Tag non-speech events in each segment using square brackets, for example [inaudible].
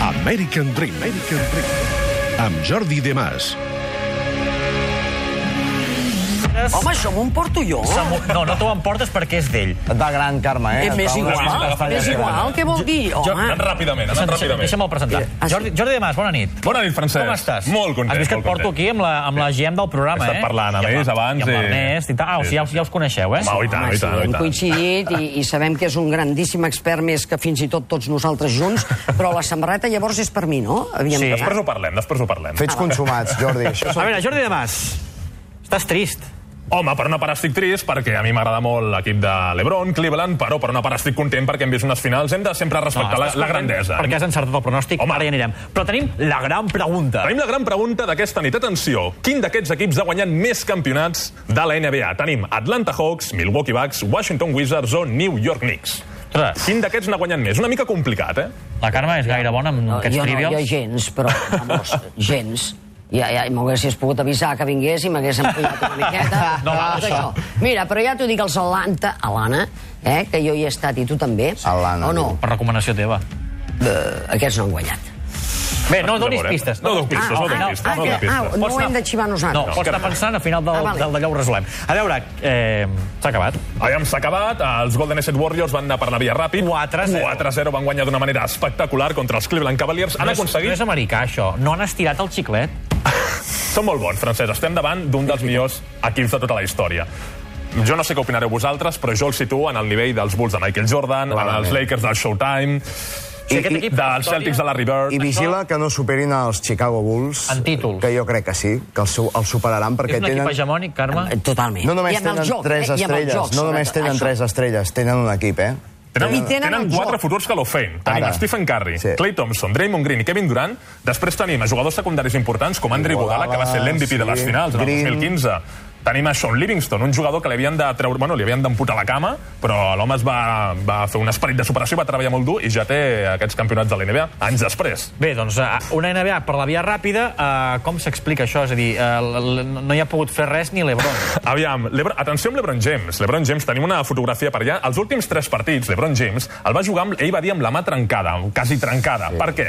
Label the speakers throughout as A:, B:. A: American Dream. American Dream. Amb Jordi De Mas.
B: Home, això m'ho emporto jo.
C: Segur- No, no t'ho emportes perquè és d'ell.
D: Et va gran, Carme, eh?
B: Eh, m'és
D: Et va una
B: igual,
D: visita
B: m'és
D: de
B: igual, què vol dir,
C: Jo-
B: home?
E: Anant ràpidament, anant
C: Ah. Deixa'm-
E: ràpidament.
C: Deixa'm el presentar.
B: Ah, sí.
C: Jordi, Jordi de Mas, bona nit.
E: Bona nit, Francesc.
C: Com estàs?
E: Molt content,
C: Has vist que et
E: molt
C: porto
E: content.
C: aquí amb la, amb la GM del
E: He
C: programa, eh?
E: estat parlant amb
C: I
E: ells abans
C: I amb
E: i-
C: l'Ernest i tal. Ah, o sigui, ja, us- ja us coneixeu, eh?
E: Home, i tant, i tant, i
B: Hem
E: tant.
B: coincidit i, i sabem que és un grandíssim expert més que fins i tot tots nosaltres junts, però la samarreta llavors és per mi, no? Havíem
C: Sí.
B: quedat.
E: Després ho parlem, després ho parlem.
D: Fets consumats,
C: [laughs]
D: Jordi. Això
C: A
D: són...
C: veure, Jordi de Mas, estàs trist.
E: Home, per una part estic trist, perquè a mi m'agrada molt l'equip de l'Ebron, Cleveland, però per una part estic content perquè hem vist unes finals. Hem de sempre respectar la,
C: Ah, estàs
E: la
C: content
E: grandesa.
C: Perquè has encertat el pronòstic,
E: Home.
C: Home. ara hi anirem. Però tenim la gran pregunta.
E: Tenim la gran pregunta d'aquesta nit. Atenció, quin d'aquests equips ha guanyat més campionats de la NBA? Tenim Atlanta Hawks, Milwaukee Bucks, Washington Wizards o New York Knicks.
C: Ostres.
E: Quin d'aquests n'ha guanyat més? Una mica complicat, eh?
C: La Carme és gaire bona amb
B: No,
C: aquests
B: jo no,
C: trivials.
B: jo gens, però, vamos, gens. Ja, ja, m'haguessis pogut avisar que vingués i m'hagués empunyat una miqueta.
C: No val,
B: Tot
C: això.
B: Mira, però ja t'ho dic, els Atlanta, Alana, eh, que jo hi he estat i tu també,
D: Atlanta,
B: o no,
C: Per recomanació teva.
B: aquests no han guanyat.
C: Bé, no donis
E: veurem.
C: pistes.
E: eh? No donis pistes, no
B: ah,
E: donis pistes.
B: ah,
E: no donis
B: que- ah,
E: pistes.
B: no
C: Pots
B: ho hem
C: anar-
B: de xivar
C: No,
B: nosaltres.
C: pots anar pensant a final del,
B: Ah,
C: ah,
B: vale.
C: del d'allò ho resolem. A veure, eh, s'ha acabat.
E: Aviam, s'ha acabat. Els Golden State Warriors van anar per la via ràpid.
C: 4-0.
E: 4-0 van guanyar d'una manera espectacular contra els Cleveland Cavaliers. Han
C: No és- No
E: aconseguit...
C: és americà, això. No han estirat el xiclet.
E: Són molt bons, Francesc. Estem davant d'un dels millors equips de tota la història. Jo no sé què opinareu vosaltres, però jo el situo en el nivell dels Bulls de Michael Jordan, en els Lakers del Showtime,
C: sigui, aquest equip fa
E: dels
C: història.
E: Celtics de Larry Bird...
D: I vigila que no superin els Chicago Bulls.
C: En títols.
D: Que jo crec que sí, que els, su- els superaran perquè
C: És un equip
D: tenen...
C: hegemònic, Carme?
B: Totalment.
D: No només
B: I amb el
D: tenen
B: joc,
D: tres
B: eh? I amb el
D: estrelles,
B: joc,
D: no només
B: sobretot,
D: tenen
B: això.
D: tres estrelles, tenen un equip, eh?
E: Tenen,
B: I tenen
E: tenen,
B: el joc.
E: quatre futurs que l'ofein. Tenim
D: Ara.
E: Stephen Curry,
D: Sí.
E: sí. Clay Thompson, Draymond Green i Kevin Durant. Després tenim a jugadors secundaris importants com Andrew
D: Iguodala,
E: Iguodala, que va ser l'MVP de les
D: sí.
E: finals en el
D: Green.
E: 2015. Tenim a Sean Livingston, un jugador que li havien de treure, bueno, li havien d'emputar la cama, però l'home es va, va fer un esperit de superació, va treballar molt dur i ja té aquests campionats de la NBA anys després.
C: Bé, doncs, eh, una NBA per la via ràpida, eh, com s'explica això? És a dir, eh, l- l- no hi ha pogut fer res ni
E: [laughs]
C: l'Ebron.
E: Aviam, Lebron, atenció amb LeBron James. LeBron James, tenim una fotografia per allà. Els últims tres partits, LeBron James el va jugar, amb, ell va dir, amb la mà trencada, quasi trencada. Sí. Per què?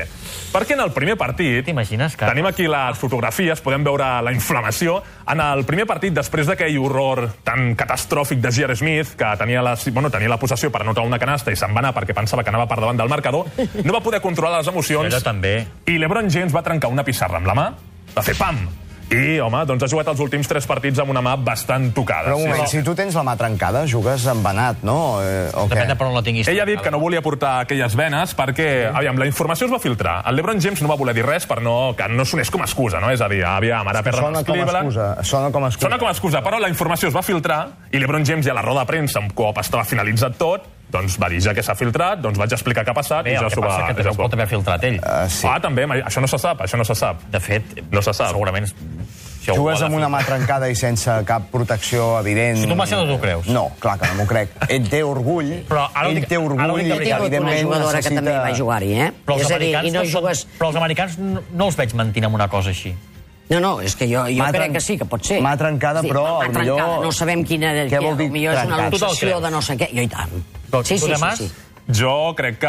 E: Perquè en el primer partit...
C: T'imagines, Carme?
E: Tenim aquí les fotografies, podem veure la inflamació. En el primer partit, després d'aquell horror tan catastròfic de J.R. Smith, que tenia la, bueno, tenia la possessió per anotar una canasta i se'n va anar perquè pensava que anava per davant del marcador, no va poder controlar les emocions.
C: Allò
B: Eh.
C: també.
E: I LeBron James va trencar una pissarra amb la mà, va fer pam! I, home, doncs ha jugat els últims tres partits amb una mà bastant tocada.
D: Però un moment, si tu tens la mà trencada, jugues embanat, no? Eh, o
C: Depèn
D: què?
C: de per on la tinguis.
E: Ell ha dit que no volia portar aquelles venes perquè, aviam, la informació es va filtrar. El LeBron James no va voler dir res per no, que no sonés com a excusa, no? És a dir, aviam, ara perden
D: Sona
E: els
D: com a
E: Cleveland...
D: excusa. Sona com a excusa.
E: Sona com a excusa, però la informació es va filtrar i LeBron James ja a la roda de premsa, un cop estava finalitzat tot, doncs va dir, ja que s'ha filtrat, doncs vaig explicar què ha passat
C: Bé,
E: i
C: el
E: ja
C: que
E: s'ho va...
C: passa és que també
E: ja s'ho
C: ho
E: va-
C: pot haver filtrat ell.
D: Ah, sí.
E: Ah, també, mai- això no se sap, això no se sap.
C: De fet,
E: No se sap.
C: segurament... Si algú
D: Jugues
C: ha de
D: amb una
C: filtrar-
D: mà trencada i sense cap protecció evident...
C: Si tu, Macià, no t'ho creus.
D: No, clar que no m'ho crec. Ell té orgull,
C: Però ara ho
D: ell
C: dic-
D: té
C: ara ho dic de
D: orgull,
B: Jo he
C: veritat.
B: tingut una
D: evidentment
B: jugadora
D: necessita...
B: que també va jugar-hi, eh?
C: Però els,
B: és a dir, i
C: americans
B: no
C: no són-
B: jugues...
C: però els americans no, no els veig mentint amb una cosa així.
B: No, no, és que jo, jo
D: M'ha
B: crec
D: tren-
B: que sí, que pot ser.
D: m'ha trencada, però
B: m'ha
D: al
B: trencada.
D: millor-
B: No sabem quina...
D: Què
B: quina-
D: vol dir
B: millor és una
D: trencat?
C: Tu te'l
B: obsessió
C: creus?
B: de no sé què. Jo i tant.
C: Però
B: Sí, sí,
C: tu,
B: sí,
C: Damas?
B: sí.
E: Jo crec que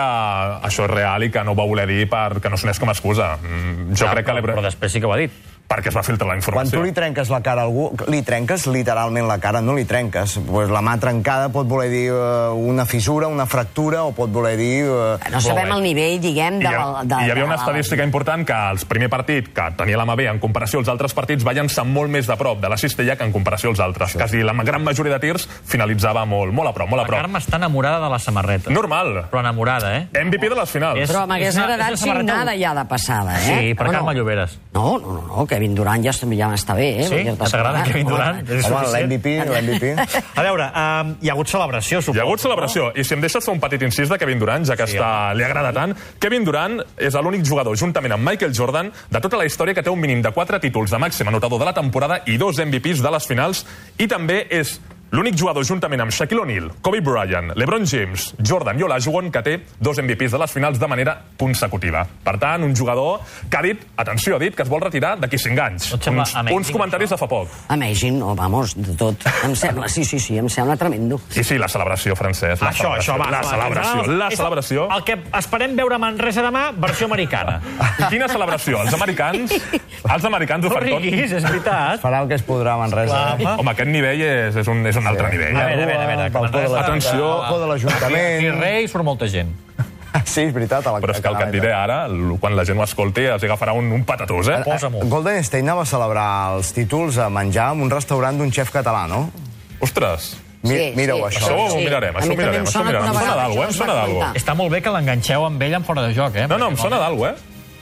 E: això és real i que no ho va voler dir perquè no sonés com a excusa. Mm, Jo crec que
C: Ah, però, però
E: LeBron...
C: després sí que ho ha dit.
E: Perquè es va filtrar la
D: Quan tu
E: informació.
D: li trenques la cara a algú, li trenques literalment la cara, no li trenques. Pues la mà trencada pot voler dir eh, una fissura, una fractura, o pot voler dir... eh,
B: No sabem
C: bé.
B: el nivell, diguem,
E: I
B: de...
E: hi, ha,
B: la- de
E: i hi havia
B: de
E: una
B: la-
E: estadística important que el primer partit, que tenia la mà bé en comparació als altres partits, va llançar molt més de prop de la cistella que en comparació als altres. Quasi la gran majoria de tirs finalitzava molt, molt a prop, molt a
C: La
E: prop.
C: Carme està enamorada de la samarreta.
E: Normal.
C: Però enamorada, eh?
E: MVP de les finals.
C: És-
B: Però m'hagués
C: és una-
B: agradat
C: és una samarreta-
B: signada ja de passada, eh?
C: Sí, per
B: O no?
C: Carme Lloberes.
B: No, no, no, no, Kevin Durant ja, està- ja m'està bé, eh?
C: Sí?
B: Ja
C: Ja T'agrada Kevin
B: Home,
C: Durant? És
D: Home,
C: suficient?
D: l'MVP, l'MVP...
C: A veure, um, hi ha hagut celebració, suposo.
E: Hi ha hagut celebració. I si em deixes fer un petit incís de Kevin Durant, ja que sí, està, li agrada tant, Kevin Durant és l'únic jugador, juntament amb Michael Jordan, de tota la història que té un mínim de 4 títols de màxim anotador de la temporada i dos MVPs de les finals, i també és L'únic jugador juntament amb Shaquille O'Neal, Kobe Bryant, LeBron James, Jordan i Olajuwon que té dos MVPs de les finals de manera consecutiva. Per tant, un jugador que ha dit, atenció, ha dit que es vol retirar d'aquí 5 anys.
C: No et sembla
E: uns,
C: amazing,
E: uns comentaris de fa poc.
B: Amazing, no, vamos, de tot. Em sembla, sí, sí, sí, em sembla tremendo.
E: Sí, sí, la celebració, Francesc. La
C: Ah, Això, això,
E: celebració,
C: va.
E: La
C: va,
E: celebració,
C: va.
E: la
C: És el-
E: celebració.
C: El que esperem veure a Manresa demà, versió americana.
E: [laughs] Quina celebració? Els americans? Els americans ho
C: No
E: fan tot?
C: riguis, és veritat.
D: [laughs] Farà el que es podrà a Manresa. eh?
C: Clar, home.
E: Home, aquest nivell és, és, un, és un altre nivell.
C: A
E: eh?
C: veure, a veure, a veure.
D: Pel por de la-
E: Atenció.
D: pel por de l'Ajuntament. Ah,
C: I rei surt molta gent.
D: Sí, és veritat. A la
E: Però és que el que et diré ara, l- quan la gent ho escolti, els agafarà un, un patatús, eh?
C: Posa-m'ho.
D: Golden State anava a celebrar els títols a menjar en un restaurant d'un xef català, no?
E: Ostres,
D: Mi- Mira-ho, això.
E: Això ho mirarem,
B: A
E: això
B: mi
E: ho mirarem,
B: també em
E: això ho
B: sona
E: mirarem.
B: que una
E: Em sona
B: vegada
E: d'algú,
B: això
E: em
B: es
E: sona
B: va
E: d'algú.
B: comentar.
C: Està molt bé que l'enganxeu amb ell en fora de joc, eh?
E: No, no, em sona d'algú, eh?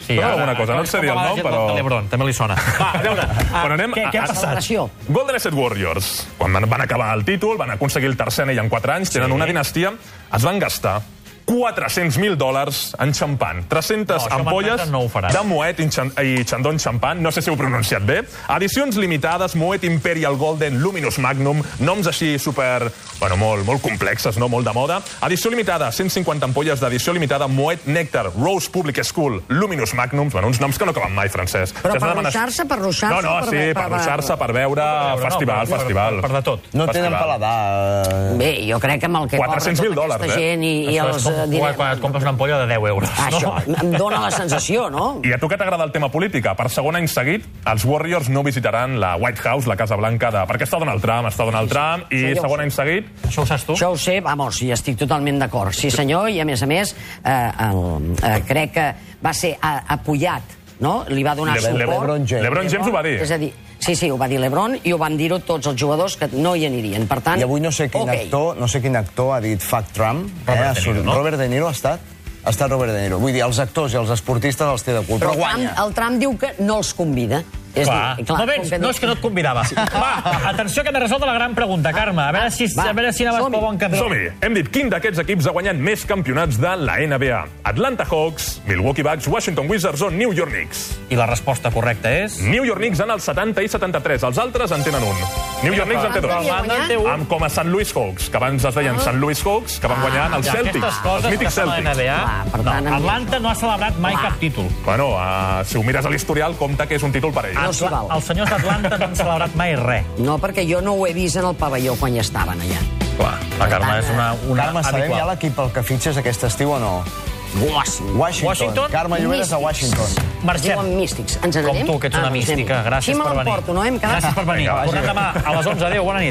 E: Sí, sona alguna cosa, no et sé dir el nom, però...
C: Lebron, també li sona. Va, a veure, ah,
E: Però anem
C: què,
E: a-
C: què
E: a-
C: ha passat?
B: Celebració.
E: Golden State Warriors, quan van, van acabar el títol, van aconseguir el tercer anell en 4 anys, tenen una dinastia, es van gastar 400.000 dòlars en xampan, 300
C: No, això
E: ampolles
C: Manresa no ho farà.
E: de Moet i Xan- i Chandon Xampan, no sé si ho he pronunciat bé, edicions limitades, Moet Imperial Golden Luminous Magnum, noms així super... bueno, molt, molt complexes, no? Molt de moda. Edició limitada, 150 ampolles d'edició limitada, Moet Nectar, Rose Public School, Luminous Magnum, bueno, uns noms que no acaben mai, Francesc.
B: Però
E: Que has de
B: per
E: demanar-
B: ruixar-se, per ruixar-se,
E: No, no,
B: per-
E: sí,
B: per-
E: per
B: per-
E: ruixar-se, per veure
C: veure, no,
E: Ah, festival,
C: per- per-
E: festival.
C: per- per de tot.
D: No tenen paladar. eh,
B: Bé, jo crec que amb el que
E: 400.000
B: corre tota
E: dòlars,
B: aquesta
E: eh?
B: gent i, i
C: Això és
B: els
C: com
B: eh,
C: quan- Quan et
B: diners...
C: compres una ampolla de 10 euros.
B: Ah, això,
C: No?
B: em dona la sensació, no?
E: I a tu que t'agrada el tema política, per segon any seguit, els Warriors no visitaran la White House, la Casa Blanca de... Perquè està Donald Trump, està Donald Trump, i
B: sí, ja ho
E: segon
B: sé.
E: any seguit...
C: Això ho saps tu?
B: Això ho sé, vamos, hi estic totalment d'acord. Sí, senyor, i a més a més, eh, el, eh, crec que va ser a, apoyat, no? Li va donar
E: Le-
B: suport.
D: LeBron James.
E: LeBron James ho va dir.
B: És a dir, sí, sí, ho va dir LeBron i ho van dir-ho tots els jugadors que no hi anirien. Per tant,
D: I avui no sé quin
B: ok.
D: actor, no sé quin actor ha dit fuck Trump.
C: Robert
D: eh? Ha
C: De
D: sortit-
C: Niro, no?
D: Robert De Niro ha estat? Ha estat Robert De Niro. Vull dir, els actors i els esportistes els té de cul, però,
B: Però el Trump,
D: guanya.
B: el Trump diu que no els convida. És a dir,
C: no vens,
B: com que
C: no és que no et convidava. Va, atenció que hem de resoldre la gran pregunta, Carme. A veure si,
B: Va,
C: a veure si anaves
B: som-hi.
C: pel bon camí.
E: Som-hi! Hem dit quin d'aquests equips ha guanyat més campionats de la NBA. Atlanta Hawks, Milwaukee Bucks, Washington Wizards o New York Knicks.
C: I la resposta correcta és...
E: New York Knicks en el 70 i 73, els altres en tenen un. New York Knicks en té
C: Però
E: dos.
C: Orlando en té un.
E: Amb com a St. Louis Hawks, que abans es deien
B: Ah.
E: St. Louis Hawks, que van guanyar en els
C: Ja, Ah,
E: Celtics,
C: Aquestes
E: els
C: coses que
E: mítics
C: són a la
E: Celtics.
C: NBA...
B: Clar, per tant,
C: no,
B: amb-
C: Atlanta no ha celebrat mai cap títol.
E: Bueno, uh, si ho mires a l'historial, compta que és un títol per ells.
B: No s'hi
C: Atla-
B: val.
C: Els senyors d'Atlanta no han celebrat mai res.
B: No, perquè jo no ho he vist en el pavelló quan hi estaven allà.
C: Clar, la Carme és una, una
D: Carme, sabem ja l'equip pel que fitxes aquest estiu o no?
B: Washington.
D: Washington.
C: Washington?
D: Carme Lloberes a
B: Místics.
D: Washington.
C: Marxem.
B: Diuen místics. Ens n'anem?
C: Com tu, que ets una
B: Ah, ens anem.
C: mística. Gràcies
B: Així me
C: per venir.
B: l'emporto, no? Hem quedat...
C: Gràcies per venir.
E: Vinga,
C: Tornem demà a les 11. Adéu, bona nit.